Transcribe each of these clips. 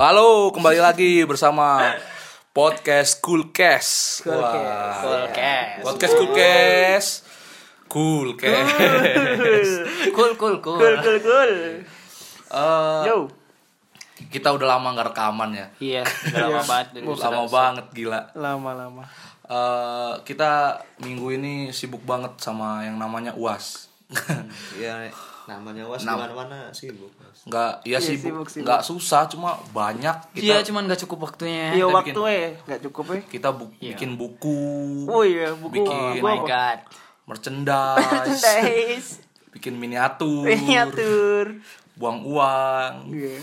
kembali lagi bersama podcast Coolcast. Wah. Iya. Coolcast. Podcast Coolcast. Coolcast. Cool cool cool. Cool, cool, cool. Eh, Yo. kita udah lama nggak rekaman ya. Iya, udah lama banget dari Lama banget gila. Lama-lama. Eh, kita minggu ini sibuk banget sama yang namanya UAS. Iya, namanya was di mana-mana sibuk. Mas. Nggak, ya Iya, sibuk, sibuk, sibuk. nggak susah cuma banyak Iya, kita cuman gak cukup waktunya. ya. Iya kita waktu eh nggak cukup eh. kita bu- bikin buku, Oh iya buku. Bikin. Oh gua my apa? god. merchandise, Guys, iya, bikin miniatur, miniatur. buang uang. Iya.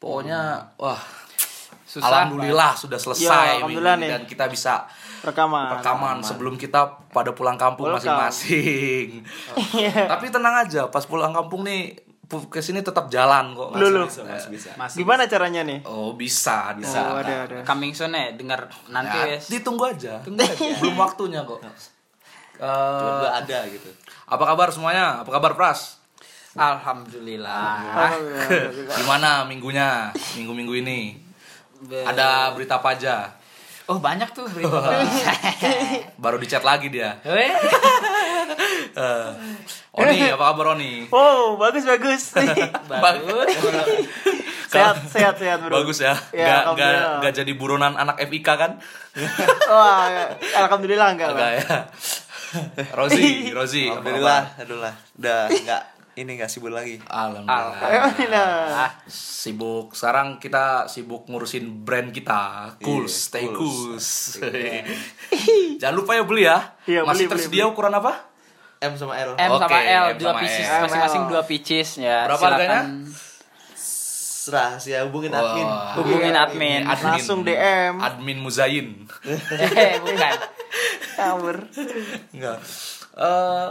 Pokoknya wah Susah. alhamdulillah sudah selesai Ya, alhamdulillah minggu ini nih. dan kita bisa Rekaman. rekaman sebelum kita pada pulang kampung Welcome. masing-masing. Tapi tenang aja, pas pulang kampung nih ke sini tetap jalan kok. Lu, lu. Bisa, Mas, bisa. Masih Gimana caranya nih? Oh, bisa, bisa. Oh, ada ada. coming soon ya, dengar nanti Ya, ya. ditunggu aja. Belum waktunya kok. Cuma Eh, gua ada gitu. apa kabar semuanya? Apa kabar Pras? Oh, Alhamdulillah. Alhamdulillah. Gimana minggunya? Minggu-minggu ini. Ada berita apa aja? Oh, banyak tuh berita. Baru dicat lagi dia. Weh. Eh, Oni, apa kabar Oni? Oh, bagus bagus. Bagus. sehat sehat sehat bro. Bagus ya. Nggak- Ya, nggak alhamdulillah. nggak jadi buronan anak FIK kan? Wah, iya. alhamdulillah enggak Agak lah. ya. Rozi, Rozi. apa Alhamdulillah, kabar? aduh udah enggak ini enggak sibuk lagi. Alhamdulillah. Ah. Alhamdulillah. Sibuk. Sekarang kita sibuk ngurusin brand kita. Cool, Iya, stay cool. Cools. Jangan lupa ya beli ya. Iya, Masih beli, beli, tersedia beli. ukuran apa? M sama L. M Oke, sama L M dua sama pieces, L. masing-masing dua pieces ya. Berapa Silakan harganya? Rahasia hubungin admin. Wah. Hubungin admin. iya, Langsung DM. Admin Muzain. Eh, bukan. Campur. Enggak. Eh,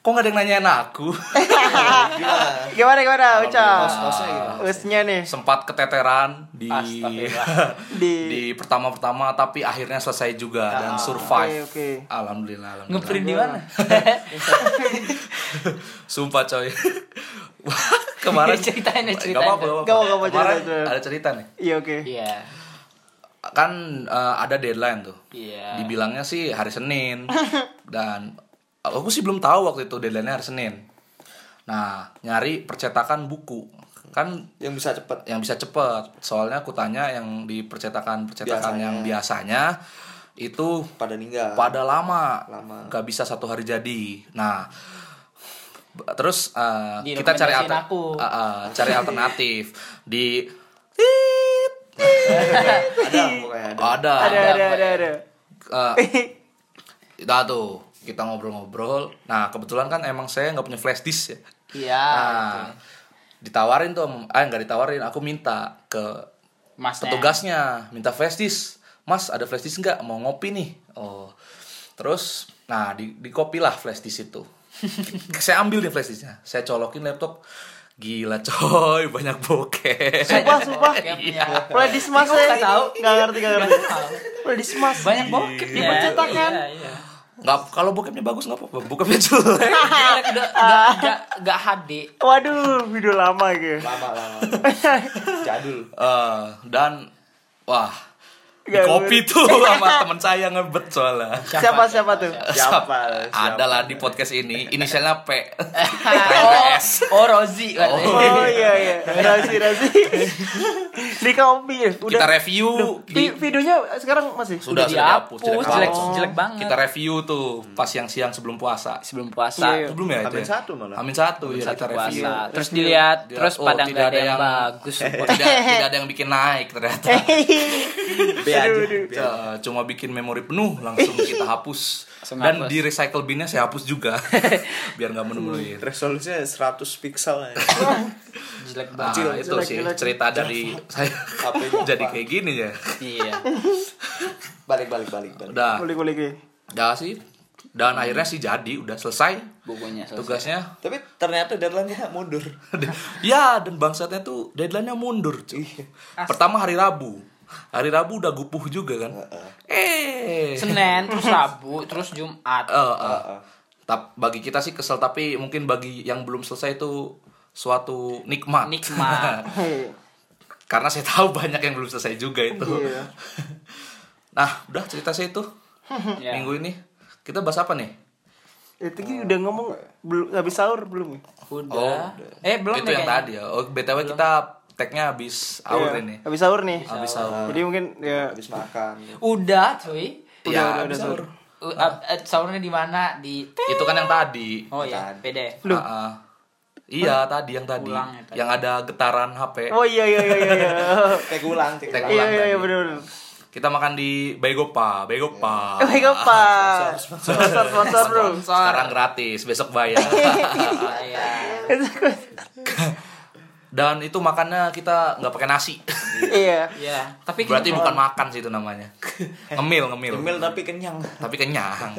kok nggak ada yang nanyain aku? Gimana? Gimana gimana Ucap? Host-hostnya gimana? Usnya nih. sempat keteteran di Astagfirullah. di, pertama-pertama tapi akhirnya selesai juga dan survive. oke, oke. Alhamdulillah, alhamdulillah. Ngeprint di mana? Sumpah coy. Wah, Kemarin Ceritain ya, Gak ceritain. apa-apa, gak apa-apa. Gak apa-apa, Kemarin ceritain. ada cerita nih. Iya oke. Iya. Kan eh, ada deadline tuh. Iya. Dibilangnya sih hari Senin dan eh, aku sih belum tahu waktu itu deadline-nya hari Senin. Nah, nyari percetakan buku. Kan Yang bisa cepet. yang bisa cepet soalnya aku tanya yang di percetakan percetakan Biasanya. yang biasanya itu Pada ninggal. pada lama, Lama. nggak bisa satu hari jadi nah b- terus eh, Direkomendasiin kita cari alter- aku. eh, eh, cari alternatif di ada pokoknya ada. ada Ada ada ada ada. Eh, itu tuh kita ngobrol-ngobrol nah kebetulan kan emang saya nggak punya flash disk ya Ah, Iya. nah ditawarin tuh sama- ah nggak ditawarin aku minta ke Mas petugasnya minta flash disk mas ada flash disk nggak mau ngopi nih oh terus nah di di lah flash disk itu saya ambil nih flash disknya saya colokin laptop gila coy banyak bokeh Sumpah sumpah. Iya. Mulai dismas Gua nggak ya. tahu. Nggak ngerti nggak ngerti. Mulai dismas. banyak bokep di percetakan. Iya, iya. nggak kalau bokepnya bagus nggak apa-apa bokepnya jelek Jelek, nggak nggak- nggak- nggak HD. Waduh, video lama gitu. Lama lama. Jadul. Eh, dan wah di Gak kopi tuh sama teman saya ngebet soalnya Siapa siapa tuh? Siapa? ada lah di podcast ini inisialnya P Eh, Oh, oh Rozi katanya. Oh iya iya. Rasi rasi. Di kopi ya. kita Udah. review Di videonya sekarang masih. sudah sudah dihapus, dihapus sudah jelek, dihapus. jelek banget. kita review tuh pas siang-siang sebelum puasa sebelum puasa, Iya, iya. sebelum ya itu Hamin ya? satu malah. Hamin satu ya satu kita review puasa. Terus dilihat, Dilihat, terus oh, padang tidak nggak ada ada yang yang- bagus. Oh, tidak tidak ada yang bikin naik ternyata Eh. B aja. B aja. Eh, cuma bikin memori penuh langsung kita hapus Langsung dan hapus. di recycle binnya saya hapus juga biar nggak menemuin Resolusinya 100 pixel aja. Jelek nah, banget. itu jelek, sih jelek. cerita dari saya Apa ini? jadi kayak gini ya Iya. Balik balik balik balik. udah Kulik kulik. ya. udah sih dan akhirnya sih jadi udah selesai Bukunya selesai. tugasnya Tapi ternyata deadline-nya mundur. ya dan bangsatnya tuh deadline-nya mundur cuy. pertama hari Rabu hari Rabu udah gupuh juga kan eh Senin, terus Rabu, terus Jumat. Eh, Ah, eh. Tap- bagi kita sih kesel tapi mungkin bagi yang belum selesai itu suatu nikmat Nikmat. Hei. karena saya tahu banyak yang belum selesai juga itu Iya. nah udah cerita saya itu Ya. minggu ini kita bahas apa nih Itu kan udah ngomong belum habis sahur belum ya? Udah. Eh Oh, belum itu ya yang tadi kayaknya. ya oh btw kita tagnya habis hour Iya, ini Habis sahur nih. habis hour Jadi mungkin ya habis makan Udah, cuy. ya udah, habis udah, hour Uh, Ah. up- up- Sahurnya di mana? Di itu kan yang tadi Oh ya, PD. Ah, ah. iya tadi yang tadi Ulang ya tadi. yang ada getaran hp Oh iya iya iya iya. iya. cek ulang cek Cek Iya ulang ulang iya iya tadi. benar benar. kita makan di Baigopa Baigopa Oh my god, Pak. Sponsor sponsor bro. sekarang gratis besok bayar ah, Iya. dan itu makannya kita nggak pakai nasi Iya. Iya. Tapi berarti kita- bukan makan sih itu namanya ngemil ngemil Nyemil tapi kenyang tapi kenyang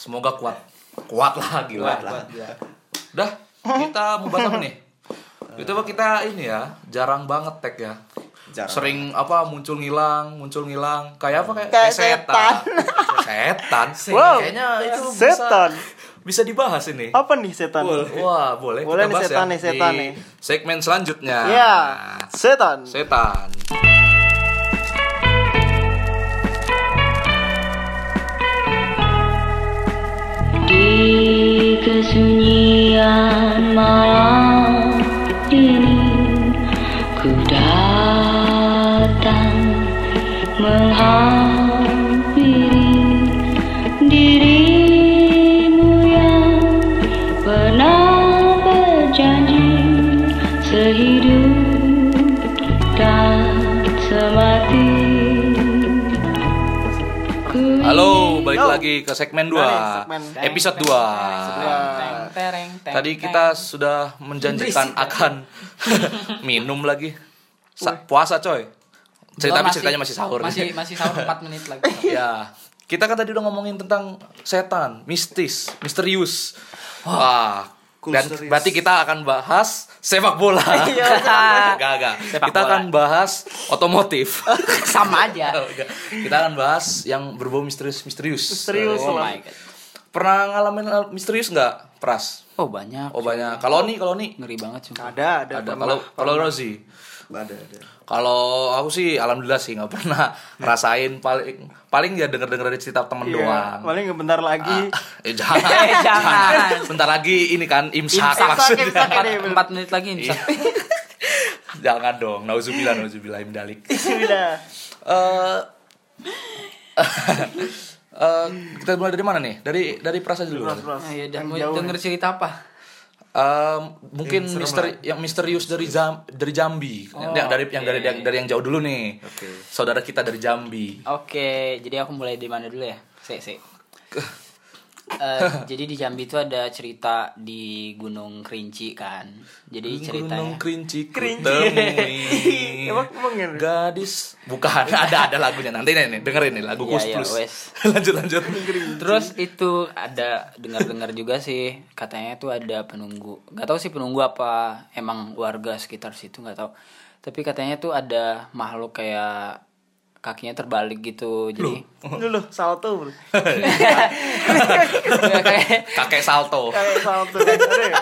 semoga kuat kuat lah gila Kuat lah. Iya. dah kita mau bahas apa nih itu apa kita ini ya jarang banget tag ya Jarang. sering apa muncul ngilang muncul ngilang kayak apa kayak, Kayak setan setan Wow. kayaknya itu bisa- Setan. bisa dibahas ini Apa nih setan? Wah, boleh. kita Boleh nih, bahas setan ya nih, setan di nih. Segmen selanjutnya. Iya. Setan. Setan. Di kesunyian malam ini Ku datang menghampiri Dirimu yang pernah berjanji Sehidup dan semati Ku Halo, balik Yo. lagi ke segmen 2. Nah, nih, segmen. Episode 2. Teng, teng, tereng, teng, Tadi teng. kita sudah menjanjikan akan minum lagi. Sa- puasa, coy. Cerita Belum, tapi ceritanya masih sahur. Masih masih sahur 4 menit lagi. ya. Kita kan tadi udah ngomongin tentang setan, mistis, misterius. Wah, dan Misterius. berarti kita akan bahas sepak bola. Iya, Enggak, enggak. Sepak Kita bola. akan bahas otomotif. Sama aja. Oh, enggak. kita akan bahas yang berbau misterius misterius Misterius Oh lah. my god. pernah ngalamin hal misterius nggak pras Oh banyak. oh banyak kalau nih kalau nih Ngeri banget sumpah. Ada ada. ada pernah. kalau kalau Rozi ada ada kalau aku sih alhamdulillah sih nggak pernah ngerasain paling paling ya denger denger dari cerita temen Iya, doang Paling bentar lagi. eh jangan, Eh, jangan. bentar lagi ini kan imsak, Imsak, maksudnya imsak. Empat Iya, bener. empat menit lagi insya Iya. jangan dong nauzubillah nauzubillah imdalik Sudah. Eh, eh, kita mulai dari mana nih dari dari pras aja dulu Bros, bros. Ya udah Yang mau jauh denger nih. cerita apa? Em, mungkin serem misteri yang misterius dari Zam- dari Jambi. yang dari yang dari yang dari yang jauh dulu nih. Saudara kita dari Jambi. Oke, jadi aku mulai dari mana dulu ya? Sik, sik. Eh, jadi di Jambi itu ada cerita di Gunung Kerinci kan. Jadi Gunung ceritanya kerinci Kerinci. kutemui. Emang- emang ya? Gadis bukan ada ada lagunya nanti nih, nih dengerin nih lagu Iya, Kus iya, Plus. wes. lanjut lanjut. Terus itu ada dengar-dengar juga sih katanya itu ada penunggu. Gak tahu sih penunggu apa emang warga sekitar situ nggak tahu. Tapi katanya tuh ada makhluk kayak kakinya terbalik gitu. Jadi Dulu salto. bro. Ya, kayak Kakek salto. Kayak salto. Ada ya?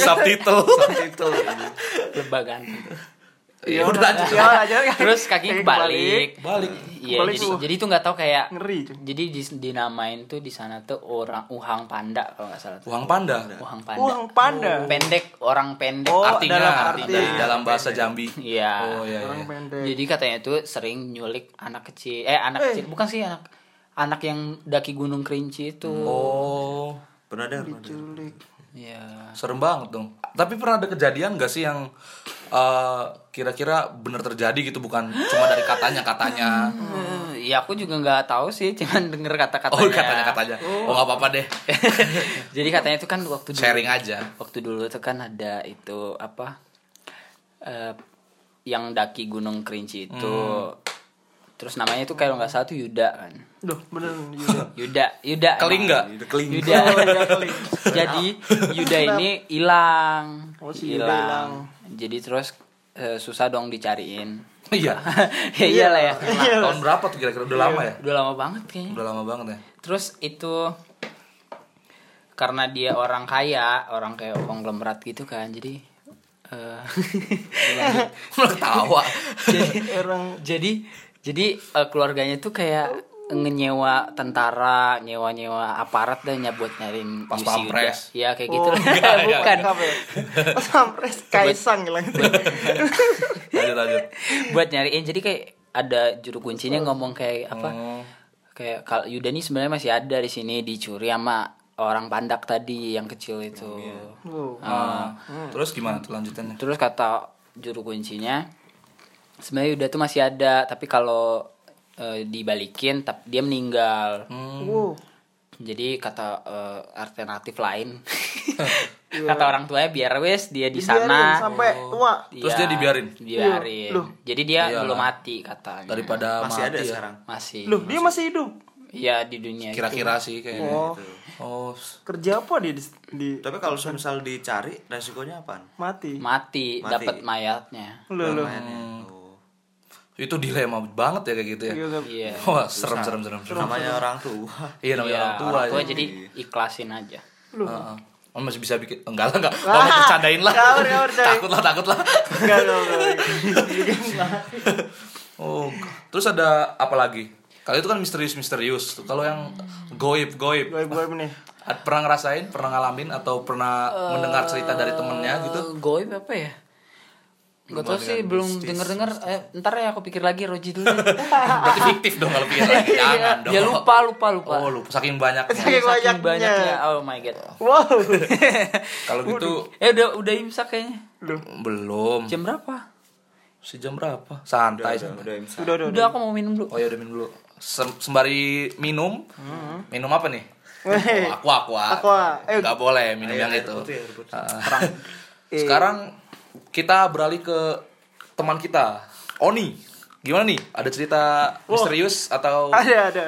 Subtitle. itu lebah ganteng. Ya udah lanjut. Ya, lanjut. kan. Terus kakinya kebalik. Balik. Iya, Kebalik jadi, tuh. jadi itu nggak tahu kayak Ngeri, cuy. jadi dis- dinamain tuh di sana tuh orang uhang panda kalau nggak salah. tuh. Uang panda. Uhang panda. Uang panda. Pendek, orang pendek. Oh, Artinya dalam arti arti. dari dalam bahasa Jambi. Iya. Oh iya. Orang iya. pendek. Jadi katanya tuh sering nyulik anak kecil. Eh, anak kecil bukan sih anak anak yang daki gunung kerinci itu. Oh. pernah ada pernah ada. Diculik. Iya. Serem banget dong. Tapi pernah ada kejadian gak sih yang eh, kira-kira bener terjadi gitu bukan cuma dari katanya katanya. Eh, Iya, aku juga nggak tahu sih, cuman denger kata-katanya. Oh katanya katanya. Oh nggak apa-apa deh. Jadi katanya itu kan waktu dulu- Sharing aja. waktu dulu tuh kan ada itu apa eh, yang daki gunung kerinci itu Hmm. terus namanya itu kalau nggak salah tuh Yuda kan Duh, bener Yuda. Yuda Yuda emang. Keling nggak? Yuda Oh, jadi Yuda ini hilang Oh, si Yuda hilang. jadi terus eh, susah dong dicariin Iya. ya iyalah ya Iya. Nah, tahun berapa tuh kira-kira udah lama ya? udah lama banget kayaknya Udah lama banget ya. Terus itu karena dia orang kaya, orang kayak konglomerat gitu kan. Jadi eh, Malah ketawa. jadi Orang- jadi jadi eh, keluarganya tuh kayak ngenyewa tentara, nyewa-nyewa aparat dan ya buat nyariin Pas Yusi Yuda. pampres. Iya kayak gitu. Oh, bukan Bukan. kafe. Pas Sampres Kaisang bilang gitu. lanjut lanjut. buat nyariin. Jadi kayak ada juru kuncinya ngomong kayak apa? Oh. Kayak kalau Yuda nih sebenarnya masih ada di sini dicuri sama orang pandak tadi yang kecil itu. Oh, iya. Wow. Nah, Terus gimana tuh lanjutannya? Terus kata juru kuncinya sebenarnya Yuda tuh masih ada, tapi kalau eh, dibalikin tap- dia meninggal. Wow. Jadi kata eh, alternatif lain. kata orang tuanya biar wes dia di Biarin sana. Iya, sampai tua. Terus dia dibiarin? Iya. Dibiarin. Loh. Jadi dia Iyalah. belum mati katanya. Daripada masih mati ada ya. sekarang masih. Loh, dia masih hidup. Iya di dunia itu. Kira-kira sih kayaknya. Oh. Oh. Kerja apa dia di, di- tapi kalau misal dicari resikonya apa mati? mati, Mati. dapat mayatnya. Loh, loh. Hmm. Itu dilema banget ya kayak gitu ya. Gitu. Iya. Wah, serem serem serem. serem. namanya ya orang tua Iya namanya Iya, orang tua. ya. jadi ikhlasin aja. Heeh. Oh, masih bisa bikin enggak lah enggak. Tolong bercandain lah. Nggak, nggak bercandain. takut lah, takut lah. Enggak, enggak, enggak. Oh, terus ada apa lagi? Kalau itu kan misterius-misterius. Kalau yang goib-goib, Goib-goib nih. Ad- pernah ngerasain, pernah ngalamin atau pernah mendengar cerita dari temennya gitu? Eh, Goib apa ya? Gak tau sih, belum denger-denger eh, Ntar ya aku pikir lagi, Roji dulu Berarti fiktif dong kalau pikir lagi. Jangan dong. Ya lupa, lupa, lupa Oh, lupa saking banyaknya. Saking Saking banyaknya. banyaknya, oh my god Wow. Kalau gitu Eh udah udah imsak kayaknya. Loh, belum. Jam berapa? Si jam berapa? Santai santai. udah imsak udah, udah. udah. Udah aku mau minum dulu. Oh ya udah minum dulu. Sem- sembari minum, minum apa nih? Weh. Oh, aqua, aqua. Aqua. Ayo. Nggak boleh minum iya, yang air itu. putih, air putih. Ah. Sekarang kita beralih ke teman kita, Oni. Gimana nih? Ada cerita misterius atau Ada, ada.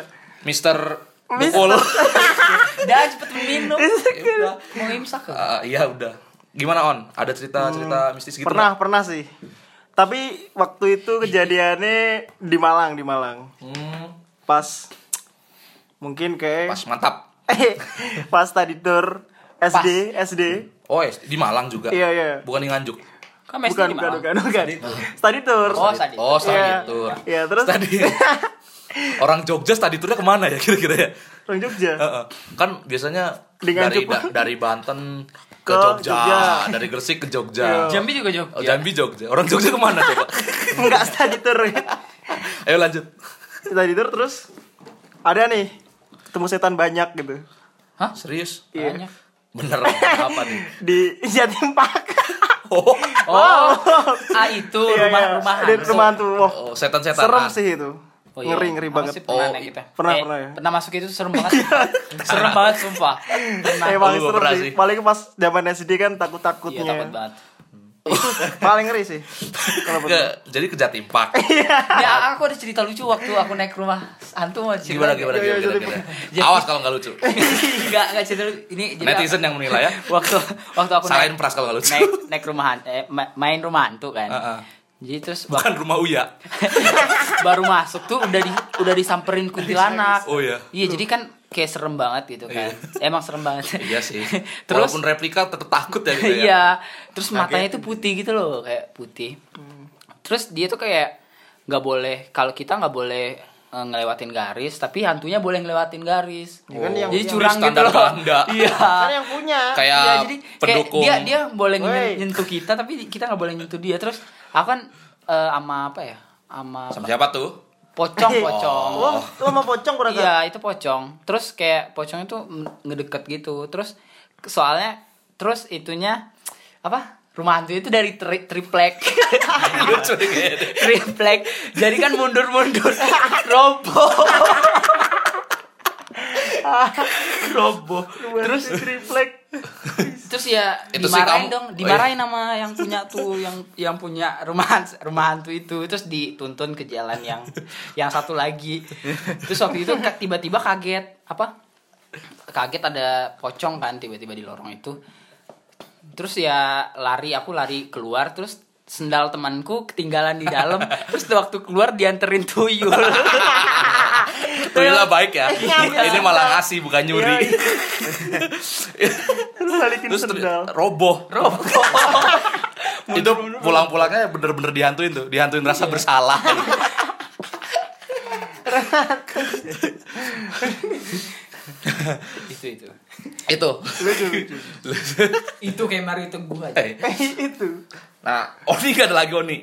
Mister Bukul? Dah cepet minum. Ya udah. mau imsak ya? Ah, Iya udah. Gimana On? Ada cerita cerita mistis gitu? Hmm, Pernah, nggak? pernah sih. Tapi waktu itu kejadiannya di Malang, di Malang. Hmm, Pas mungkin kayak eh, pas mantap. pas tadi tur SD SD Oh, eh, di Malang juga. Iya, iya. Bukan di Nganjuk. Kan bukan mesti di bukan Malang. bukan bukan study tour Oh, tadi. Oh, study Iya. tour. Iya, terus- Study. Orang Jogja study tournya kemana ya kira-kira ya? orang Jogja Heeh. Kan biasanya Dengan dari Jepang. da- dari Banten ke, Ke Jogja. Jogja. Iya. dari Gresik ke Jogja. Jambi juga Jogja. Oh, Jambi Jogja. Orang Jogja kemana coba? enggak study tour ya. Ayo lanjut. study tour terus ada nih ketemu setan banyak gitu Hah? Serius? iya Banyak. Bener apa nih? di Jatim Park Oh, Oh, ah itu Iya, iya. rumah-rumah di rumahan tuh wah, oh, setan-setanan. serem sih itu Oh, iya. ngeri ngeri banget iya. pernah Oh, naik kita. pernah, Eh, pernah ya. Iya. Pernah masuk itu serem banget. sumpah. serem banget sumpah. Pernah. Emang Oh, serem pernah sih. sih. Eh, Paling pas zaman SD kan Iya takut-takutnya. takut banget. Itu paling ngeri sih. Kalau Iya, betul. Ke- jadi ke Jatim Park. Ya aku ada cerita lucu waktu aku naik rumah hantu mau cerita. Gimana gimana gimana, Iya, iya, gimana, Jatim gimana. Park. Awas kalau nggak lucu. Enggak, enggak cerita lucu. Ini jadi Netizen yang menilai ya. waktu waktu aku Salahin naik, Pras kalau nggak lucu. naik naik rumahan eh, ma- main rumah hantu kan. Heeh. Jadi terus Bukan rumah Uya. baru masuk tuh udah di udah disamperin kuntilanak. Oh, iya. Iya, jadi kan kayak serem banget gitu kan. Emang serem banget. Iya sih. terus Walaupun replika tetap takut ya gitu ya. Iya. Terus matanya tuh putih gitu loh, kayak putih. Hmm. Terus dia tuh kayak nggak boleh kalau kita nggak boleh eh, ngelewatin garis, tapi hantunya boleh ngelewatin garis. Ya kan yang Jadi punya. curang gitu Standar loh. Belanda. Iya. Kan yang punya. Kayak Iya, jadi kayak pendukung. dia dia boleh Woi. nyentuh kita tapi kita nggak boleh nyentuh dia. Terus aku kan eh, sama apa ya? Sama Sama siapa tuh? pocong-pocong. Oh. Wah, lu sama pocong kurang Iya itu pocong. Terus kayak pocongnya tuh m- ngedeket gitu. Terus soalnya terus itunya apa? Rumah hantu itu dari tri triplek. Lucu nih Iya. kayaknya. triplek. Jadi kan mundur-mundur. Roboh. Roboh. Terus triplek. Terus ya Itu sih dimarahin kamu- dong, oh iya. dimarahin sama yang punya tuh yang yang punya rumah hans- rumah hantu itu terus dituntun ke jalan yang yang satu lagi. Terus waktu itu ka- tiba-tiba kaget apa? Kaget ada pocong kan tiba-tiba di lorong itu. Terus ya lari aku lari keluar terus sendal temanku ketinggalan di dalam terus waktu keluar dianterin tuyul Tuyulnya baik ya. Ini malah ngasih bukan Iya, nyuri. Lu balikin Terus ter- iya. sendal. roboh. roboh itu pulang-pulangnya bener-bener dihantuin tuh dihantuin rasa Iya. bersalah itu itu itu itu kayak Mario Teguh aja Eh, itu nah Oni gak ada lagi Oni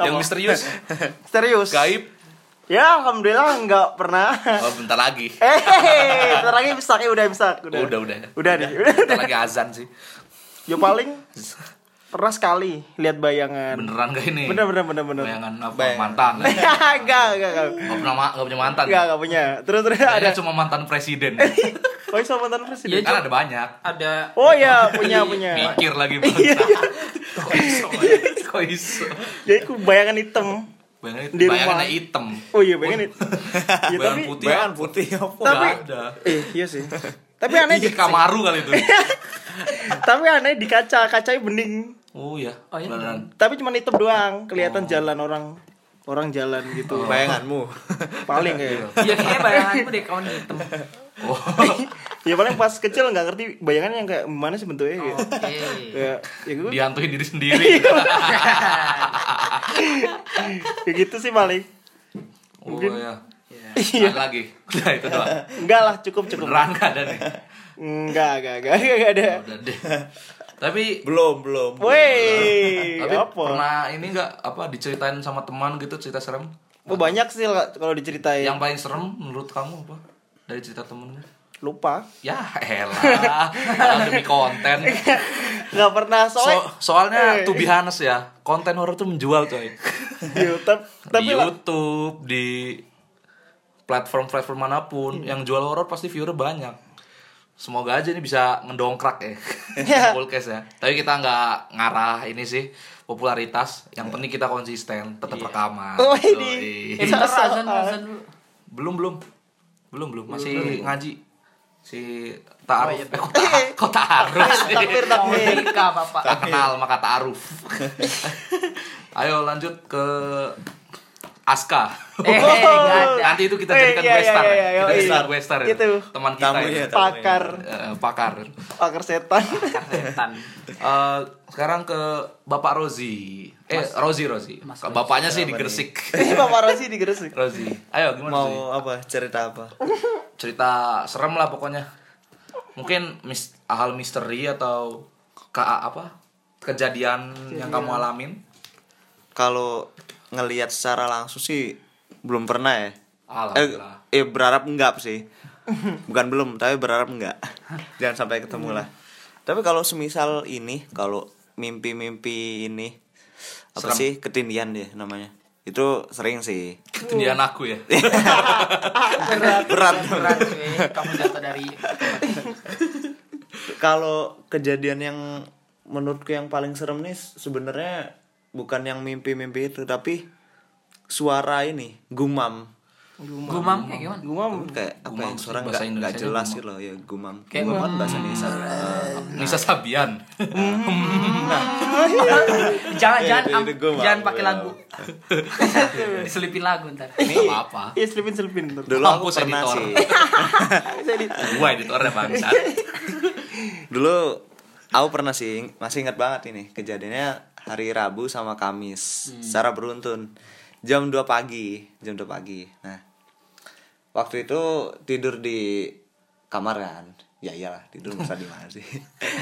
yang Apa? misterius serius gaib ya alhamdulillah nggak pernah oh, bentar lagi eh bentar lagi bisaknya udah bisak udah udah udah udah nih bentar lagi azan sih ya paling pernah sekali lihat bayangan beneran gak ini bener bener bener bener bayangan apa Bayang. mantan enggak enggak enggak Gak pernah ma- gak punya mantan enggak enggak punya terus terus ada ada Iya, cuma mantan presiden oh sama mantan presiden kan ada banyak ada oh ya punya Iya, punya mikir lagi iya. bangsa kok iso Oni? kok iso jadi ku Ya, bayangan hitam bayangan Di rumah. bayangannya hitam oh iya bayangan hitam ya bayangan tapi putih Bayangan putih tapi apa? Tapi- Oh, ada eh iya sih tapi aneh Ih, di, kamaru Iya, kali itu Iya. Iya. tapi aneh di kaca kacanya bening oh ya Oh, iya. beneran tapi cuma hitam doang Oh. kelihatan jalan orang orang jalan gitu Bayanganmu. paling kayak ya kayaknya bayanganku deh kawan hitam Iya. oh ya paling pas kecil nggak ngerti bayangan yang kayak mana sih bentuknya Oh, kayak oke iya. kayak ya gue dihantui diri sendiri Iya, ya gitu sih paling oh Mungkin. ya Iya. ada lagi nah itu doang enggak lah cukup cukup beneran gak ada nih enggak enggak enggak enggak ada udah deh tapi Belum, belum. belum. woi tapi Iya, apa pernah ini nggak apa diceritain sama teman gitu cerita serem oh, banyak sih lah kalau diceritain yang paling serem menurut kamu apa dari cerita temennya lupa ya elah Malah demi konten nggak pernah so, soalnya Eh. soalnya to be honest ya konten horor tuh menjual coy YouTube di tapi lah, YouTube di platform-platform manapun Iya. yang jual horor pasti viewer banyak semoga aja ini bisa ngedongkrak ya Podcast ya tapi kita nggak ngarah ini sih popularitas yang penting kita konsisten tetap rekaman Iya. Oh, ini. Iya. Yoi. Eh, bentar, azan, azan dulu. belum belum belum belum masih ngaji si Oh, taaruf iya, eh, kok, ta kok taaruf sih takbir takbir Nikah, Bapak. tak kenal maka taaruf ayo lanjut ke Aska Eh, nggak ada. nanti itu kita Eh, jadikan iya, iya, Westar iya, iya, kita iya. jadikan Westar itu. Itu. teman kita Tamunya, ya. tamunya. pakar Eh, pakar pakar setan Setan. Eh, sekarang ke Bapak Rozi eh Rozi Rozi Mas Ke bapaknya sih di Gresik ini paparosi di Gresik Rozi ayo gimana Rozi? Mau apa? Cerita apa? cerita serem lah pokoknya mungkin mis hal misteri atau ke apa kejadian yang kamu alamin Kalau ngelihat secara langsung sih belum pernah ya. Eh, alhamdulillah eh berharap enggak sih. Bukan belum, tapi berharap enggak. Jangan sampai ketemu lah. Tapi kalau semisal ini, kalau mimpi-mimpi ini apa Serem. sih ketindian deh namanya. Itu sering sih. ketindian aku ya Berat, Berat. berat, cuy. Kamu jatuh dari kalau kejadian yang menurutku yang paling serem nih sebenarnya bukan yang mimpi-mimpi itu tapi suara ini gumam gumam kayak gimana? gua kayak apa Gumam ya, sih, suara bahasa nggak nggak Indonesianya jelas gumam. gitu loh ya gumam Kayak gumam kan bahasa Indonesia Eh, Nisa Sabian jangan Iya, jangan iya, am- iya, gua jangan mau, pakai gua lagu diselipin lagu ntar nggak apa apa iya selipin selipin ntar. dulu aku Mampus pernah editor. sih Jadi, gue editornya bangsat dulu aku pernah sih masih ingat banget ini kejadiannya hari Rabu sama Kamis Hmm. secara beruntun jam 2 pagi jam 2 pagi nah waktu itu tidur di kamar kan ya iyalah tidur masa di mana sih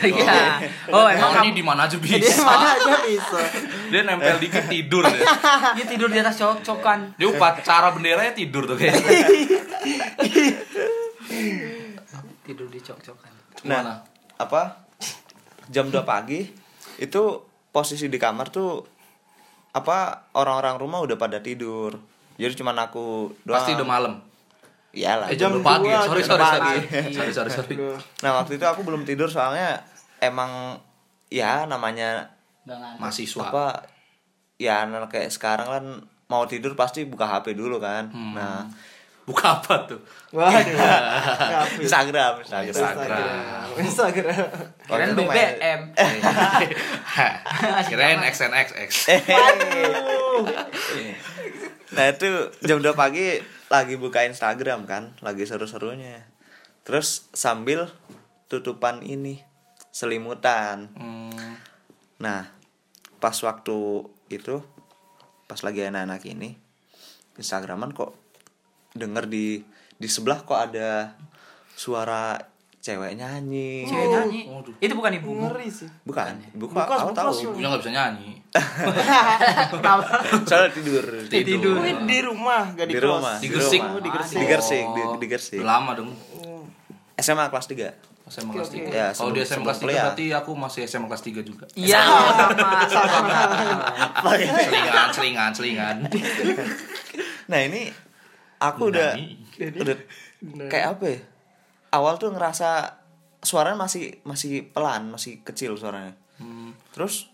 iya oh emang Nah, kamu ini di mana aja dia bisa mana aja bisa dia nempel dikit tidur deh. dia tidur di atas cok cokan dia upacara benderanya tidur tuh kayaknya tidur di cok cokan Gimana? nah apa jam 2 pagi itu posisi di kamar tuh apa orang-orang rumah udah pada tidur jadi cuman aku doang pasti udah malam iyalah eh jam belum dua pagi ya. dua, sorry jam sorry pagi. sorry sorry sorry sorry Aduh. Nah waktu itu aku belum tidur soalnya emang ya namanya Nggak ngantuk. mahasiswa apa ya anak kayak sekarang kan mau tidur pasti buka HP dulu kan. Nah buka apa tuh waduh Instagram, Instagram. Instagram Instagram Instagram Waktu keren itu main- BBM kirain XNXX Eh, Nah itu jam 2 pagi lagi buka Instagram kan, lagi seru-serunya. Terus sambil tutupan ini selimutan. Hmm, Nah, pas waktu itu pas lagi anak-anak ini Instagraman kok denger di di sebelah kok ada suara cewek nyanyi Cewek nyanyi. ya? Waduh. Itu bukan ibu. Ngeri sih. bukan bukan Bukas, aku bukas, tahu yuk. ya? Punya nggak bisa nyanyi. soalnya tidur Tidur. Wih, di rumah gak di, di kelas. rumah Di Gresik. rumah. Di Gresik. di Gresik di, Oh. di Gresik Udah lama dong. SMA kelas 3 SMA kelas oke. 3. Ya, Kalau sebelum- di SMA kelas 3 sebelum kuliah. berarti aku masih SMA kelas 3 juga. Iya, sama, sama. ya? ya? Selingan, selingan, selingan. nah ini aku udah udah nah. kayak apa ya awal tuh ngerasa suaranya masih masih pelan masih kecil suaranya Hmm. terus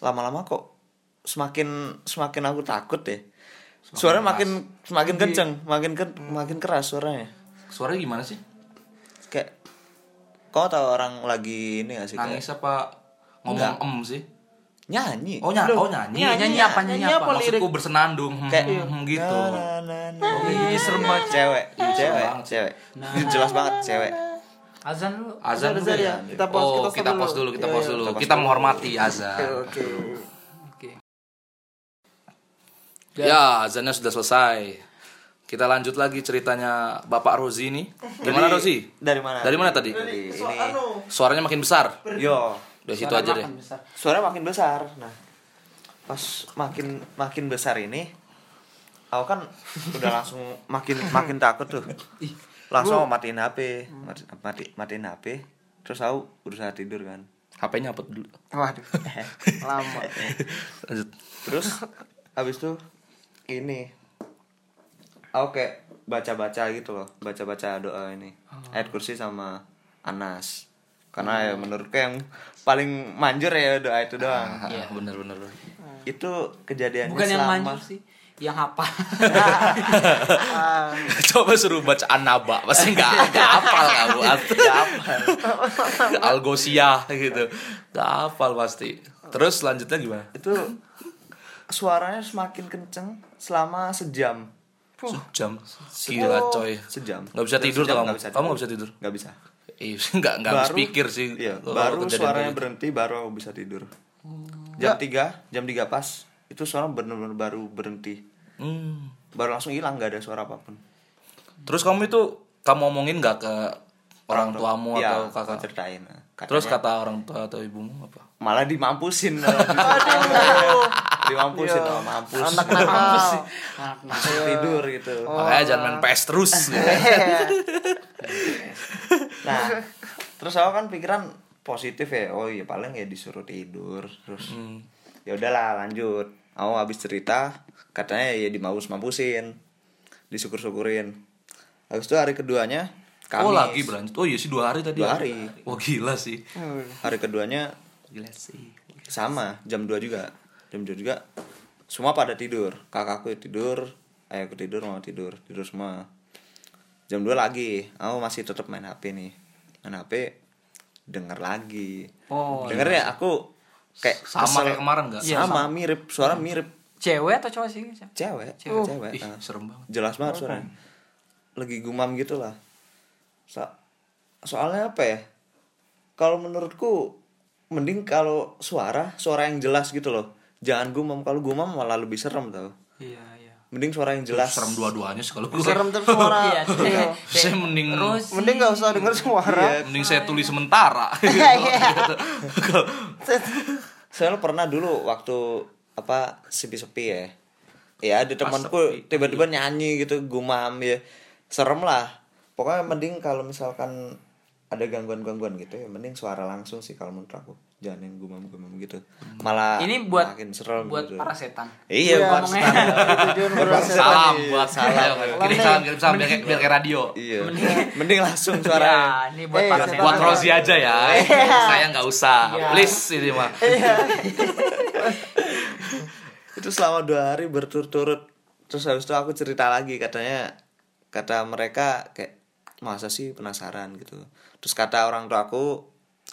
lama-lama kok semakin semakin aku takut deh suaranya makin semakin kenceng makin ke- Hmm. makin keras suaranya Suara gimana sih? kayak kau tau orang lagi ini gak sih kayak Nangis apa ngomong em sih? nyanyi Oh, nyanyi. Oh, nyanyi. Nyanyi apa? Nyanyi apa? Maksudku bersenandung hmm, Kayak- hmm, Nah, hmm, gitu. Oh, Iya, Na, na, na, na. Ih, nah. serem banget. cewek cewek banget. cewek jelas banget cewek Azan lu. Azan dulu Azan ya? ya. Kita oh, pause, kita stop kita dulu. pause dulu, kita Iya, pause iya, dulu. kita pause Kita dulu. menghormati Oke, azan. oke. Oke. Ya, azannya sudah selesai. Kita lanjut lagi ceritanya Bapak Rozi ini. Gimana Jadi, Rozi? dari mana Dari mana tadi? Dari Soal ini anu, Suaranya makin besar. yo Dari situ aja deh. suara makin besar nah pas makin makin besar ini aku kan udah langsung makin makin takut tuh langsung mau matiin HP mati, mati matiin HP terus aku berusaha tidur kan HP-nya apa dulu? Waduh, lama. Lanjut. terus habis tuh ini aku kayak baca-baca gitu loh baca-baca doa ini Oh. ayat kursi sama Anas Hmm. karena ya menurutku yang paling manjur ya doa itu doang Iya, bener bener. bener. itu kejadiannya Bukan yang selama- manjur sih, yang apa? Coba suruh baca Anaba, pasti nggak nggak hafal kamu. Nggak hafal. Algosia gitu. Nggak hafal pasti. Terus lanjutnya gimana? itu suaranya semakin kenceng selama sejam Sejam. Gila coy. sejam Nggak bisa tidur tuh kamu. Sejam Kamu nggak bisa tidur. nggak bisa Iya, nggak nggak habis pikir sih. iya, kalau baru kejadian suaranya kayak gitu. berhenti baru aku bisa tidur jam 3 jam 3 pas itu suara benar-benar baru berhenti Hmm. baru langsung hilang nggak ada suara apapun Terus kamu itu kamu omongin nggak ke orang tuamu atau Iya, kakak? ceritain Katanya Terus kata orang tua atau ibumu apa? malah dimampusin dimampusin oh, mampus Anak nakal. Langsung tidur gitu Makanya jangan main PS terus. gitu. nah terus aku kan pikiran positif ya oh iya paling ya disuruh tidur terus ya udahlah lanjut aku habis cerita katanya ya dimampus mampusin disyukur syukurin habis itu hari keduanya Kamis Oh lagi berlanjut. Oh iya sih dua hari tadi. Dua ya? hari. Wah gila sih. hari keduanya Gila sih. sama jam 2 juga jam 2 juga semua pada tidur kakakku tidur ayahku tidur mama tidur tidur semua jam 2 lagi aku masih tetap main HP nih main HP denger lagi Oh, denger ya aku iya. kayak Sama kesel. Iya, kayak kemarin nggak? Iya, sama, mirip suara mirip Cewek atau cowok sih? cewek Cewek. cewek Oh, Ih ah. serem banget. jelas banget suaranya lagi gumam gitu lah So- soalnya apa ya kalau menurutku mending kalau suara suara yang jelas gitu loh jangan gumam kalau gumam malah lebih serem tau Iya, iya. mending suara yang jelas Serem dua-duanya sih kalau gue. Serem tuh Iya, suara. Iya. Saya mending Terus Mending gak usah denger suara. mending saya tulis sementara. Gitu. soalnya pernah dulu waktu apa sepi-sepi ya ya ada kan? temanku tiba-tiba nyanyi gitu gumam ya serem lah pokoknya mending kalau misalkan ada gangguan-gangguan gitu ya mending suara langsung sih kalau menurut aku jangan yang gumam-gumam gitu malah ini buat makin serem buat gitu. para setan. iya buat Ngomongnya. Iya. Jujur, bro. salam buat Iya. Salam. salam. Kirim salam, kirim salam biar kayak- biar kayak radio. iya mending langsung Iya, suara ini buat Eh, para setan. setan. Buat Rozi aja ya. Saya nggak usah. Please ini mah. itu selama dua hari berturut-turut terus habis itu aku cerita lagi katanya kata mereka kayak masa sih penasaran gitu terus kata orang tua aku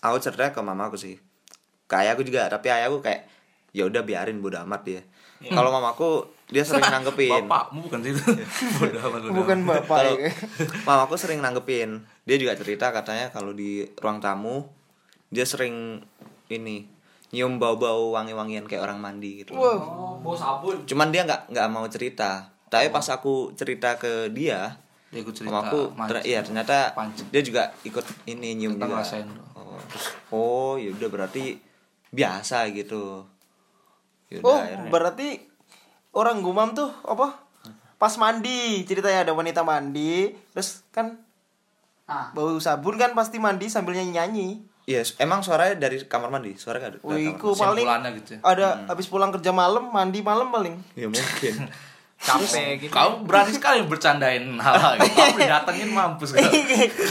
aku cerita ke mama aku sih ke ayahku juga tapi ayahku kayak ya udah biarin bodo amat dia kalau mamaku dia sering nanggepin Bapakmu bukan sih itu. Bodoh amat, bodoh Bukan amat. bapak. kalau ya. mamaku sering nanggepin dia juga cerita katanya kalau di ruang tamu dia sering ini nyium bau-bau wangi-wangian kayak orang mandi gitu Oh, bau sabun. cuman dia nggak nggak mau cerita tapi pas aku cerita ke dia Dia ikut Ya, cerita. sama aku ter- iya ternyata Pancing. dia juga ikut ini nyium Kita juga ngerasain. oh, terus, oh ya udah berarti biasa gitu Yaudah, Oh, akhirnya. berarti orang gumam tuh apa? Pas mandi, ceritanya ada wanita mandi, terus kan Ah. bau sabun kan pasti mandi sambil nyanyi-nyanyi. Iya, su- emang suaranya dari kamar mandi suara nggak ada dari Wih, kamar ku paling Kesimpulannya gitu ya. Hmm. ada habis pulang kerja malam, mandi malam paling. mandi. ya mungkin Capek gitu. Kamu berani sekali bercandain hal-hal itu. Kamu didatengin mampus kan.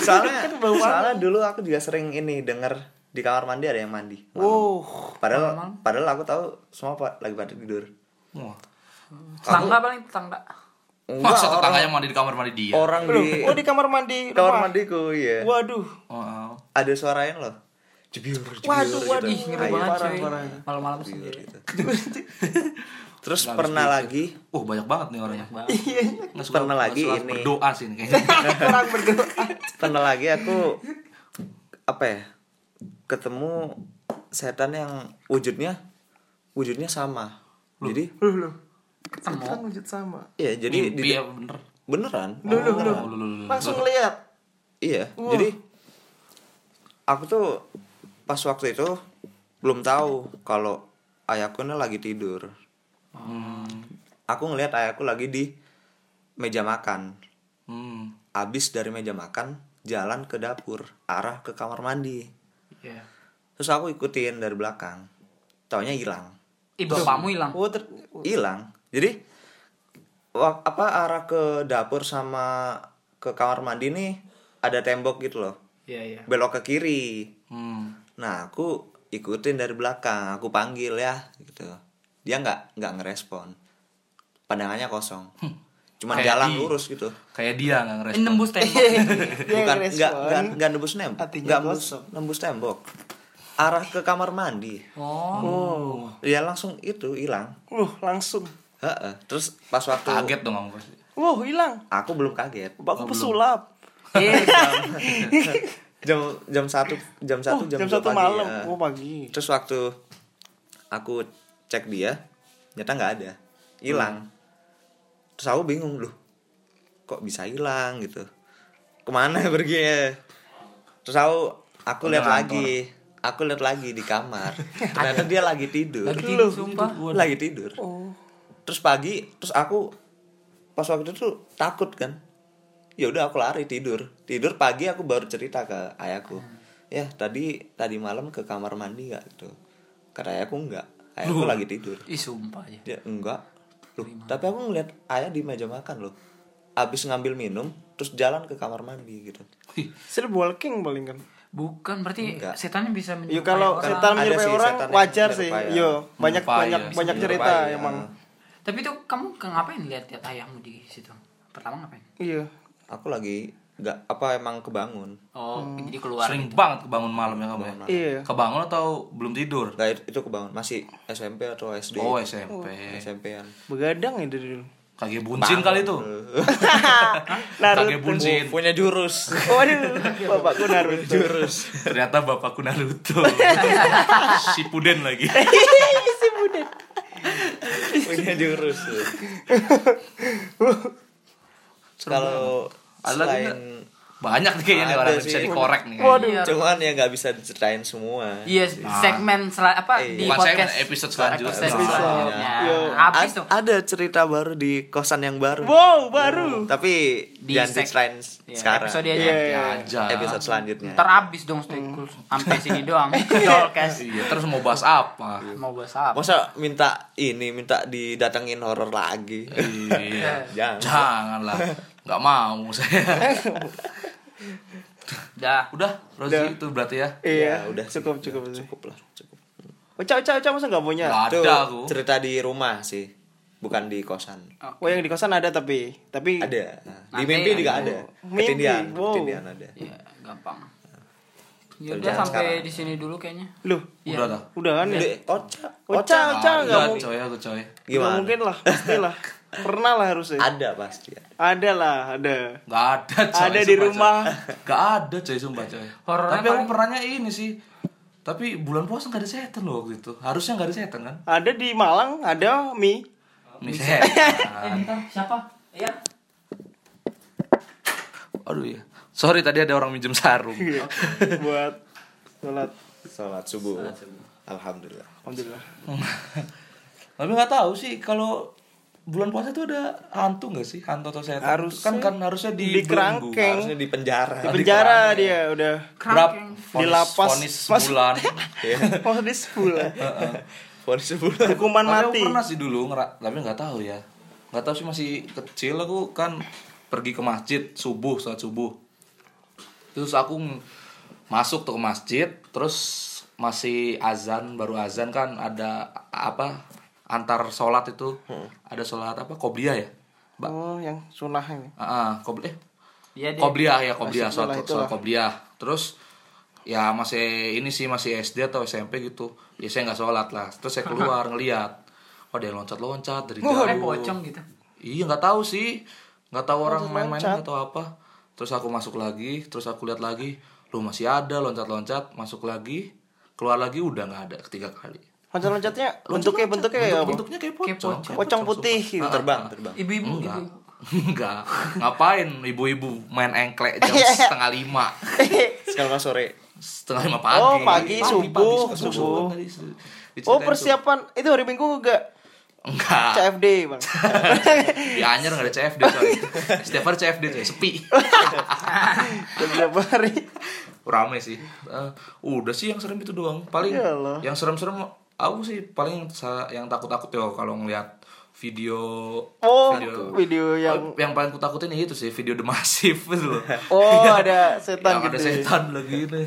soalnya soalnya dulu aku juga sering ini denger di kamar mandi ada yang mandi malam. Wow, padahal padahal aku tahu semua pa- lagi pada tidur Wah. Tetangga paling tetangga. Masa tetangganya mandi di kamar mandi dia. orang Loh, di oh di kamar mandi. Iya. kamar rumah. mandiku iya Waduh. Oh, ada suaranya loh jebiur jebiur Waduh, waduh. gitu. Ngeri Air, banget, parah, cuy. parah. Malam-malam Jebiur sendiri. gitu. terus gitu. pernah lagi oh banyak banget nih orangnya. Iya, Nggak suka- Pernah nggak lagi suka ini. Berdoa sih ini kayaknya. orang berdoa. pernah lagi aku apa ya ketemu setan yang wujudnya wujudnya sama jadi Loh, loh. Kan Ketemu. wujud sama. iya jadi Mimpi di- ya bener. beneran Loh, loh, loh. Oh, lu, lu, lu, lu. Langsung lihat. Iya, jadi aku tuh pas waktu itu belum tahu kalau ayahku ini lagi tidur. Aku ngelihat ayahku lagi di meja makan. Hmm. Abis dari meja makan, jalan ke dapur, arah ke kamar mandi. Iya. Terus aku ikutin dari belakang. Taunya hilang. Ih, bapakmu hilang. Oh, ter- Hilang. Jadi wa- apa arah ke dapur sama ke kamar mandi nih ada tembok gitu loh. Iya, iya. Belok ke kiri. Hmm. Nah aku ikutin dari belakang, aku panggil ya gitu. Dia nggak nggak ngerespon, pandangannya kosong. Hmm. Cuman Kayak jalan di- lurus gitu. Kayak dia nggak Ini ngerespon. nembus tembok. dia Bukan ngerespon. nggak nggak nggak nembus tembok, Hatinya nggak nembus kosong. nembus tembok. Arah ke kamar mandi, Oh. Oh. dia langsung itu hilang. Wah, langsung. Heeh. Terus pas waktu Kaget dong kamu pasti. Wah, hilang. aku belum kaget. Aku pesulap. Iya. Jam jam satu Oh, jam satu jam, jam dua satu pagi, malam. eh. Oh, pagi. Terus waktu aku cek dia, nyata nggak ada, Hmm. hilang. Terus aku bingung loh, kok bisa hilang gitu? Kemana pergi Terus aku aku lihat lagi, aku lihat lagi di kamar. Ternyata dia lagi tidur, Lagi tidur, sumpah. Oh. lagi tidur. Terus pagi, terus aku pas waktu itu tuh takut kan. Ya udah aku lari tidur. Tidur pagi aku baru cerita ke ayahku. Hmm. Ya, tadi tadi malam ke kamar mandi nggak gitu. Karena ayahku enggak. Ayahku lagi tidur. Ih, sumpah ya. Dia enggak. Loh, tapi aku ngeliat ayah di meja makan loh. Abis ngambil minum, terus jalan ke kamar mandi gitu. Sleep walking paling kan. Bukan berarti Enggak. setannya bisa menyerupai Yo Iya, kalau orang. setan Ada menyerupai sih, orang setan yang wajar sih. menyerupai Yo, orang. banyak Menyerupai, banyak ya. banyak cerita Menyerupai, ya. emang. Tapi itu kamu ke- ngapain lihat-lihat ayahmu di situ? Pertama ngapain? Iya. Aku lagi nggak apa emang kebangun. Oh, jadi keluar. Sering banget kebangun malam ya kamu ya. Iya. Kebangun atau belum tidur? Enggak itu- itu kebangun, masih SMP atau SD. Oh SMP. SMP-an. Begadang ya dari dulu. Kagak buncin kali itu. Kagak Naruto. buncin. Punya jurus. Waduh, bapakku Naruto. jurus. Ternyata bapakku Naruto. si Puden lagi. Eh, punya jurus kalau Ada lagi selain Banyak nih kayaknya nih Ada orang sih. bisa dikorek nih. Waduh. Iya. cuman ya nggak bisa diceritain semua Iya, segmen sel- apa Iya. di Bukan segmen, podcast episode selanjutnya. Episode Episode. selanjutnya. Iya. Yo. Habis A- tuh. ada cerita baru di kosan yang baru Wow, baru. tapi Di jangan sek- diceritain Iya, sekarang Episode aja. Iya. Ya aja. episode selanjutnya Ntar abis dong stay cool. Sampai sini doang. Dolcast. Iya, terus mau bahas apa? Mau bahas apa? masa minta ini minta didatengin horor lagi Iya. Jangan. Janganlah. Enggak mau saya. Dah. Udah, Udah. Rozi itu berarti ya. Iya, Ya, udah udah sih. cukup cukup Oh, sih. cukup lah cukup Ucap ucap ucap masa nggak punya? Nggak itu ada aku. cerita di rumah sih bukan di kosan Oh yang di kosan ada tapi tapi ada Nah, di Nanti mimpi ada. juga ada Mimpi, ketindian wow. ketindian ada Iya, gampang. Ya udah Kerjaan sampai sekarang. di sini dulu kayaknya. Loh, Iya. Udah dah. udah kan ya? Dek, kocak Ucap ucap nggak Iya, mungkin. coy, aku coy. Nggak gimana mungkin lah, pastilah. Pernah lah harusnya. ada pasti ya. ada. Ada lah, ada. Gak ada coy. Ada di sumpah, coy. rumah. Gak ada coy, sumpah coy. Horornya Tapi aku paling- pernahnya ini sih. Tapi bulan puasa nggak ada setan loh waktu itu. Harusnya nggak ada setan kan? Ada di Malang, ada mie. Oh, Mie setan. siapa? Iya. Aduh ya. Sorry tadi ada orang minjem sarung. buat sholat. Salat subuh. Alhamdulillah. Alhamdulillah. Tapi nggak tahu sih kalau bulan puasa itu ada hantu nggak sih? Hantu atau setan? Harusnya kan kan harusnya di, di kerangkeng. Harusnya di penjara. Di penjara dia udah. Di lapas. Fonis Mas- sebulan. Oh, di sebulan. Vonis sebulan. Hukuman Tapi aku mati. pernah sih dulu ngera- tapi nggak tahu ya nggak tahu sih masih kecil aku kan pergi ke masjid subuh saat subuh terus aku ng- masuk tuh ke masjid terus masih azan baru azan kan ada a- apa antar sholat itu Hmm. ada sholat apa kobliyah ya Mbak? Oh, yang sunah ini. Ah, ah, kobli- eh, Iya dia. Kobliyah ya Kobliyah Masih sekolah soal soal itulah. Kobliyah terus ya masih ini sih masih SD atau SMP gitu ya saya nggak sholat lah terus saya keluar ngeliat oh dia loncat loncat dari jauh Eh, pocong gitu. iya nggak tahu sih nggak tahu orang main-main atau apa terus aku masuk lagi terus aku lihat lagi lu masih ada loncat loncat masuk lagi keluar lagi udah nggak ada ketiga kali Loncat-loncatnya bentuknya bentuknya kayak apa? bentuknya kayak pocong Ah, Pocong putih gitu. Terbang, terbang. Ibu-ibu Enggak. gitu. Enggak. Ngapain ibu-ibu main engklek jam setengah lima? Sekarang sore. Setengah lima pagi. Oh, pagi, subuh, suka subuh. subuh. Tadi se- Oh, diceritain persiapan itu hari Minggu enggak? tuh. Enggak. CFD, Bang. Di Anyer nggak ada CFD coy. Setiap hari CFD coy, sepi. Udah berapa hari? Rame sih. Eh, udah sih yang serem itu doang. Paling Iyalah. yang serem-serem aku sih paling yang sa- yang takut-takut ya kalau ngelihat video Oh, video yang yang paling aku takutin ya itu sih video The Massive itu loh. Iya. Oh, ada yang setan ada gitu. setan lagi ini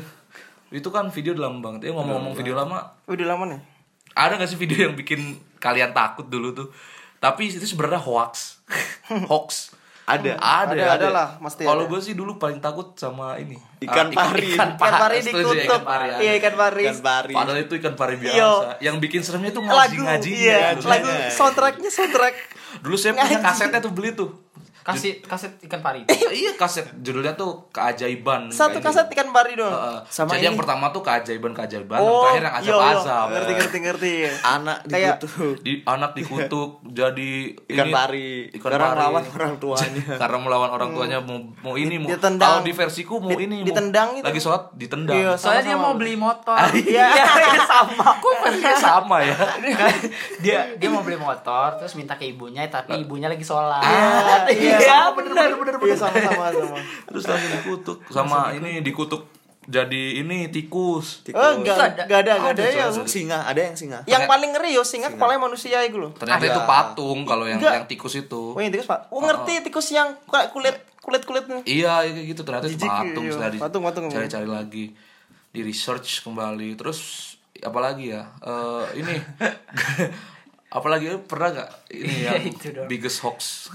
itu kan video udah lama banget ya ngomong-ngomong Hmm. video lama Udah lama nih. ada gak sih video yang bikin kalian takut dulu tuh tapi itu sebenarnya hoax hoax ada Ada. Hmm. Ada, ya, ada lah, pasti kalau ada. gue sih dulu paling takut sama ini Ikan Ah, pari. ikan, Ikan pari setuju, dikutuk. ikan pari, ada. Iya, ikan pari. Kan pari. padahal itu ikan pari biasa Iya. yang bikin seremnya tuh ngaji Lagu, ngaji iya, lagu soundtracknya soundtrack. dulu saya punya Ngaji. kasetnya tuh beli tuh Kasih kaset ikan pari. iya kaset judulnya tuh keajaiban Satu Keajaiban. kaset ikan pari doang. Heeh. Sama jadi ini. yang pertama tuh keajaiban keajaiban yang terakhir yang iya, iya. azab-azab Ngerti ngerti ngerti. Anak Kayak- dikutuk. di anak dikutuk jadi Ikan ini- pari. ikan Karena pari. melawan orang tuanya. karena melawan orang tuanya mau mau ini mau Hmm. Ditendang. kalau di versiku mau Di- ini mau- ditendang itu. lagi sholat ditendang Iya, Soalnya dia Sama-sama. mau beli motor. Iya, sama. Kok bener? Ah, sama ya Iya. dia dia mau beli motor terus minta ke ibunya tapi ibunya lagi sholat Iya, Iya, bener, bener, Iya, sama sama sama. terus lagi dikutuk sama ini dikutuk jadi ini tikus Oh, enggak Ada. enggak ada enggak ada ya. Ada yang yang singa, ada yang singa. yang paling ngeri yo singa kepala manusia itu loh. ternyata Ada. itu patung kalau yang Enggak. Iya. yang tikus itu Wih, tikus Pak. Oh, ngerti tikus yang kayak kulit kulit kulit nih. Iya, kayak gitu ternyata itu Jijik, patung iya. dari Patung, patung. cari-cari lagi di research kembali terus apalagi ya Eh, ini apalagi eh, pernah gak ini yang biggest hoax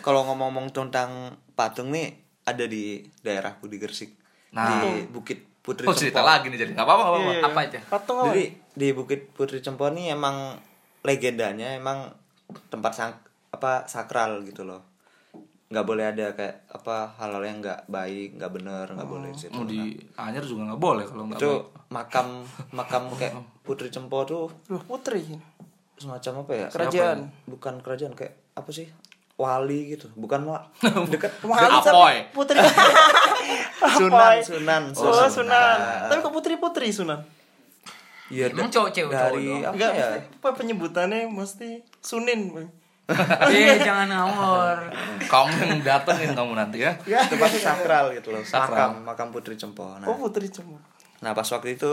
Kalau ngomong-ngomong tentang patung nih ada di daerahku di Gresik. Nah. Di Bukit Putri oh cerita Cempo. lagi nih jadi nggak apa-apa nggak apa-apa. apa itu Patung oh. apa? Jadi di Bukit Putri Cempo nih emang legendanya emang tempat sang- apa sakral gitu loh. Nggak boleh ada kayak apa hal-hal yang nggak baik, nggak bener, nggak boleh di situ. mau Nah, Oh, di anyer juga nggak boleh kalau nggak itu baik. makam makam kayak Putri Cempo tuh Duh, putri. semacam apa ya? Kerajaan. Siapa ya? Bukan kerajaan kayak apa sih? Wali gitu. Bukan wa dekat Wali, Apoy. Sar- Putri. Sunan, Apoy. Sunan, Oh, Sunan. Tapi kok putri-putri Sunan? Iya, Emang da- cowok- cewek- cowok dari doang? apa Enggak, ya? mesti- apa penyebutannya mesti Sunin, Bang. eh jangan ngawur kamu yang datengin kamu nanti ya Tempat sakral gitu loh. Sakral. Makam, makam Putri Cempo. Nah, Oh, putri cuma. nah, pas waktu itu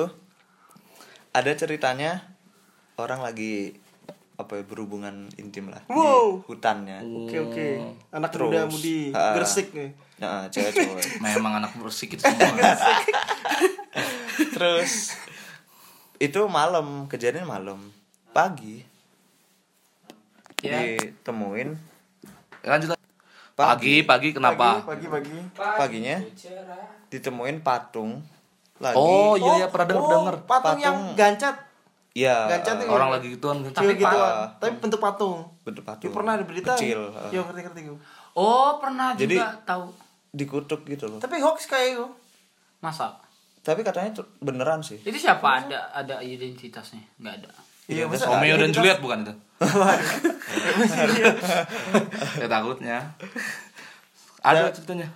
ada ceritanya orang lagi apa ya, berhubungan intim lah Wow. di hutannya. Hmm. Oke, oke. Anak Terus, muda mudi ah. Gresik nih. Nah, cewek cowok. memang anak bersih itu semua Terus itu malam, kejadian malam. Pagi ya ditemuin lanjut lah. pagi pagi kenapa Pagi-pagi. paginya ditemuin patung lagi. oh iya iya pernah Oh, denger denger patung, Patung. yang gancat. Iya. Gancat eh, itu orang lagi gituan kan Tapi Tapi gitu. pa- Tapi bentuk patung. bentuk Ya, patung. pernah ada berita. Kecil. eh, Ya ngerti-ngerti gue. oh pernah Jadi- juga tahu dikutuk gitu loh. Tapi hoax kayak itu. masa Tapi katanya tuh beneran sih. Itu siapa ada ada identitasnya? Nggak ada. Iya, masa Romeo dan Juliet bukan itu? ya takutnya. Ada ceritanya.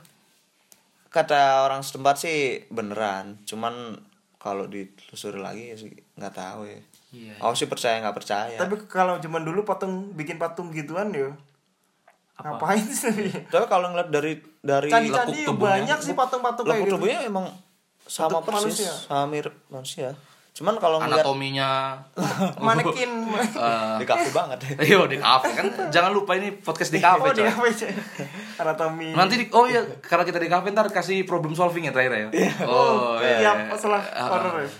Kata orang setempat sih beneran. Cuman kalau ditelusuri lagi ya sih nggak tahu ya. Iya. Aku sih percaya nggak percaya. Tapi Tapi, kalau zaman dulu patung bikin patung gituan ya. Ngapain sih? kalau ngeliat dari dari Candi-candi lekuk tubuhnya. banyak sih patung-patung kayak lekuk gitu. tubuhnya emang sama Bentuk persis, manusia. sama mirip manusia. Cuman kalau ngeliat Anatominya. Manekin. Eh, di kaku banget. Ayo di kafe kan jangan lupa ini podcast di kafe Oh, coy. dia apa aja? Anatomi. Nanti di, oh iya karena kita di kafe ntar kasih problem solving ya terakhir ya. Oh Iya, iya. masalah horor ya.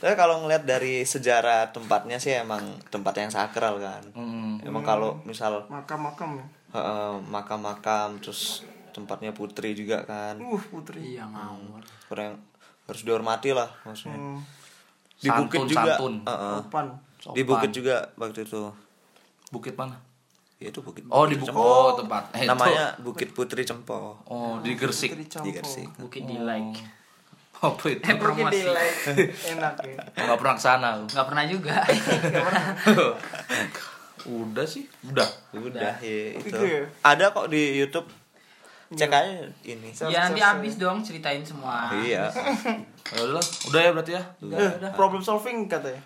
Tapi kalau ngeliat dari sejarah tempatnya sih emang tempat yang sakral kan. Hmm. Emang kalau misal Makam-makam ya. heeh, makam-makam terus tempatnya putri juga kan. Uh, putri. Iya ngawur. Kurang harus dihormati lah maksudnya. Hmm, Di Santun, bukit juga. santun. heeh. Sopan. Di bukit juga waktu itu. Bukit mana? Ya itu bukit. Oh di bukit oh, tempat. Eh, itu. Namanya Bukit Putri Cempo Oh di Gersik. Putri di Campo. Gersik. Bukit di like. Eh, Apa itu? Putri Informasi. Delay. Enak ya. Enggak pernah kesana. Gak pernah juga. Udah sih, udah. Udah, ya, itu. Itu ya? Iya. Ada kok di YouTube. Cek aja ini. ya nanti habis dong ceritain semua. Iya. Ya udah, lah. udah ya berarti ya. Udah, problem solving katanya.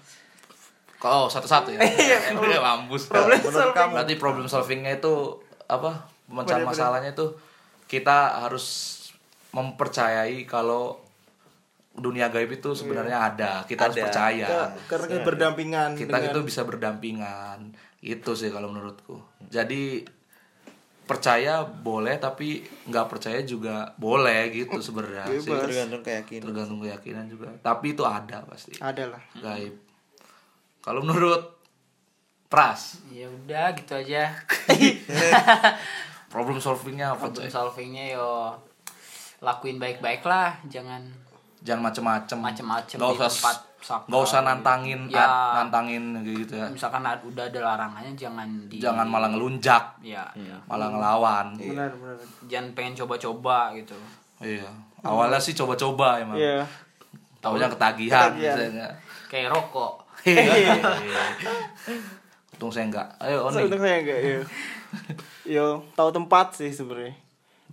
Kalau satu-satu ya. Iya, mampus. Problem Menurut solving. kamu Berarti problem solvingnya itu apa? Pemecahan Bener-bener. masalahnya itu kita harus mempercayai kalau dunia gaib itu sebenarnya ada. Kita harus Ada. percaya. Kita- Karena kita berdampingan Kita dengan itu bisa berdampingan. Itu sih kalau menurutku. Jadi percaya boleh tapi nggak percaya juga boleh gitu sebenarnya sih. tergantung keyakinan. Tergantung keyakinan juga. Tapi itu ada pasti. adalah Gaib. Kalau menurut Pras, Ya udah gitu aja. problem solvingnya apa coy? Problem solvingnya yo lakuin baik-baik lah, jangan jangan macem-macem Macem-macem nggak di usah tempat sakral nggak usah gitu. nantangin Ya. ah, nantangin gitu ya misalkan ad- udah ada larangannya jangan di jangan malah ngelunjak ya, ya. malah ngelawan benar benar. jangan pengen coba-coba gitu. iya awalnya sih coba-coba emang Iya. taunya ketagihan, Ketagihan. biasanya Kayak rokok. Iya. untung saya enggak ayo Oni Sebenarnya saya enggak ya. Yo, tahu tempat sih sebenarnya.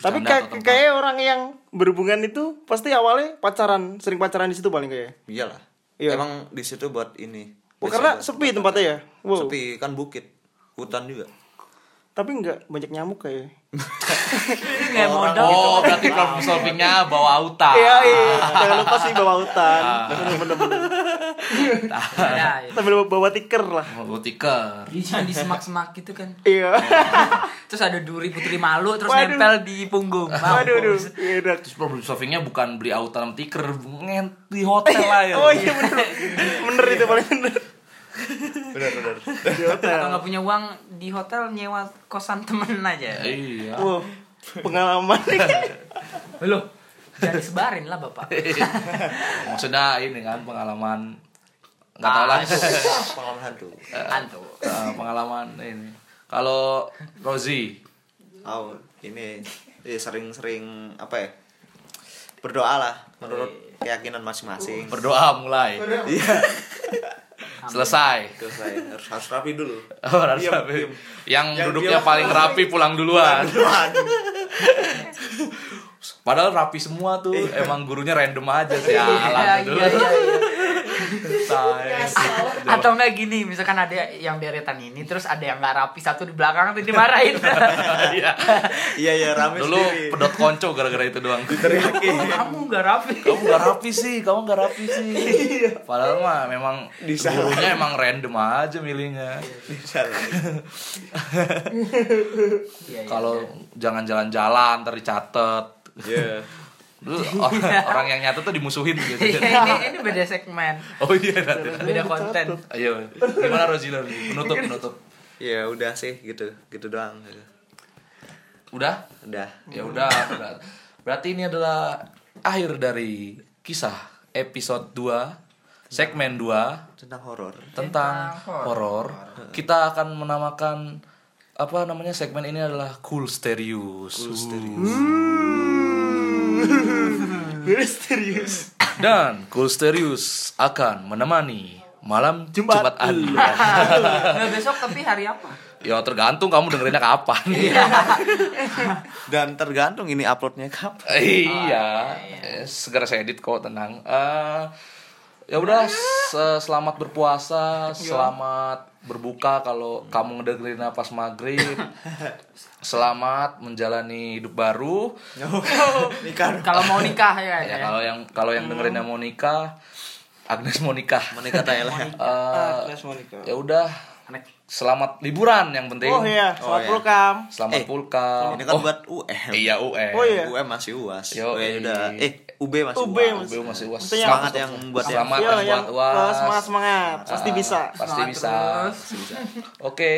Tapi Bercanda kayak atau tempat? kayak orang yang berhubungan itu pasti awalnya pacaran, sering pacaran di situ paling kayak. Iyalah. Iya. Emang di situ buat ini. Oh, karena sepi tempatnya ya. Wow. Iya, Sepi kan bukit, hutan juga. Tapi enggak banyak nyamuk kayak. Kayak modal. oh berarti problem solvingnya bawa auta Iya, iya. Jangan lupa sih bawa hutan. Bener-bener. Nah, ya. Sambil bawa tiker lah. mau tiker Jadi jangan di semak-semak gitu kan. Iya. Terus ada duri putri malu terus Waduh. nempel di punggung. Aduh, aduh. Mampus. Iya, udah. terus problem solvingnya bukan beli auta sama tiker ngen- di hotel aja Oh iya bener. Bener itu paling bener. Benar benar. Di hotel. Kalau nggak punya uang di hotel nyewa kosan temen aja. iya Wow. Pengalaman. Belum. Jangan disebarin lah bapak. maksudnya ini kan pengalaman nggak tahu lah Ah. Pengalaman hantu. Antu. Eh, pengalaman ini kalau Rozi Oh, ini eh, sering-sering apa ya? Berdoa lah menurut keyakinan masing-masing. berdoa mulai Iya. selesai Terus saya harus, harus rapi dulu. Oh, harus Diam, rapi. diam. yang Yang duduknya diam. paling rapi pulang duluan Duluan. padahal rapi semua tuh emang gurunya random aja sih Iya, alam dulu iya, iya. selesai Atau enggak gini, misalkan ada yang deretan ini, terus ada yang nggak rapi satu di belakang tuh dimarahin. Iya. Iya ya rame dulu sendiri. pedot konco gara-gara itu doang Teriakin. Oh, Kamu nggak rapi. Iya, kamu gak rapi sih, kamu gak rapi sih. Padahal mah memang gurunya emang random aja milihnya. Iya, iya. Kalau jangan jalan-jalan ntar dicatet. Iya. Dulu or- orang yang nyata tuh dimusuhin gitu. Iya, ini ini beda segmen, Oh iya nanti. beda konten. Ayo, gimana Rozila? Penutup, penutup. Ya udah sih gitu, gitu doang. Udah? Udah. Ya udah. udah. Berarti ini adalah akhir dari kisah episode 2 segmen 2 Tentang horor. tentang horor. Kita akan menamakan apa namanya segmen ini adalah cool stereos. Uh. Bener serius. Dan Cool Stereus akan menemani malam Jumat, Anda. Nah, besok tapi hari apa? ya tergantung kamu dengerinnya kapan. Dan tergantung ini uploadnya kapan. iya. Eh, Segera saya edit kok, tenang. Eh, ya udah, se- selamat berpuasa, selamat berbuka kalau kamu ngedengerin pas maghrib. Selamat menjalani hidup baru. Nikah. Kalau mau nikah ya. Ya, kalau yang kalau yang dengerinnya mau nikah, Agnes mau nikah. Menikah Thailand. Eh, ya udah, selamat liburan yang penting. Oh iya, Oh, selamat iya. pulkam. Selamat Eh, pulkam. Ini kan Oh, buat UM. Iya UN. Oh, iya. UM masih UAS. Yo, UM udah iya. eh UB masih UB UAS. Beliau masih was. Maksudnya- Semangat yang buat yang- selamat Iya, yang yang buat was. semangat semangat, pasti Ah, bisa. Pasti Semangat bisa. terus. Pasti bisa. Oke.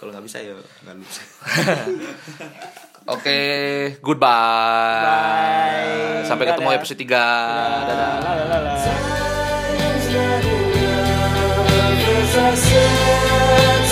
Kalau nggak bisa ya nggak lulus. Oke, goodbye. Bye. Sampai ketemu Dadah. episode 3. Dadah. Lalalala. There's a sense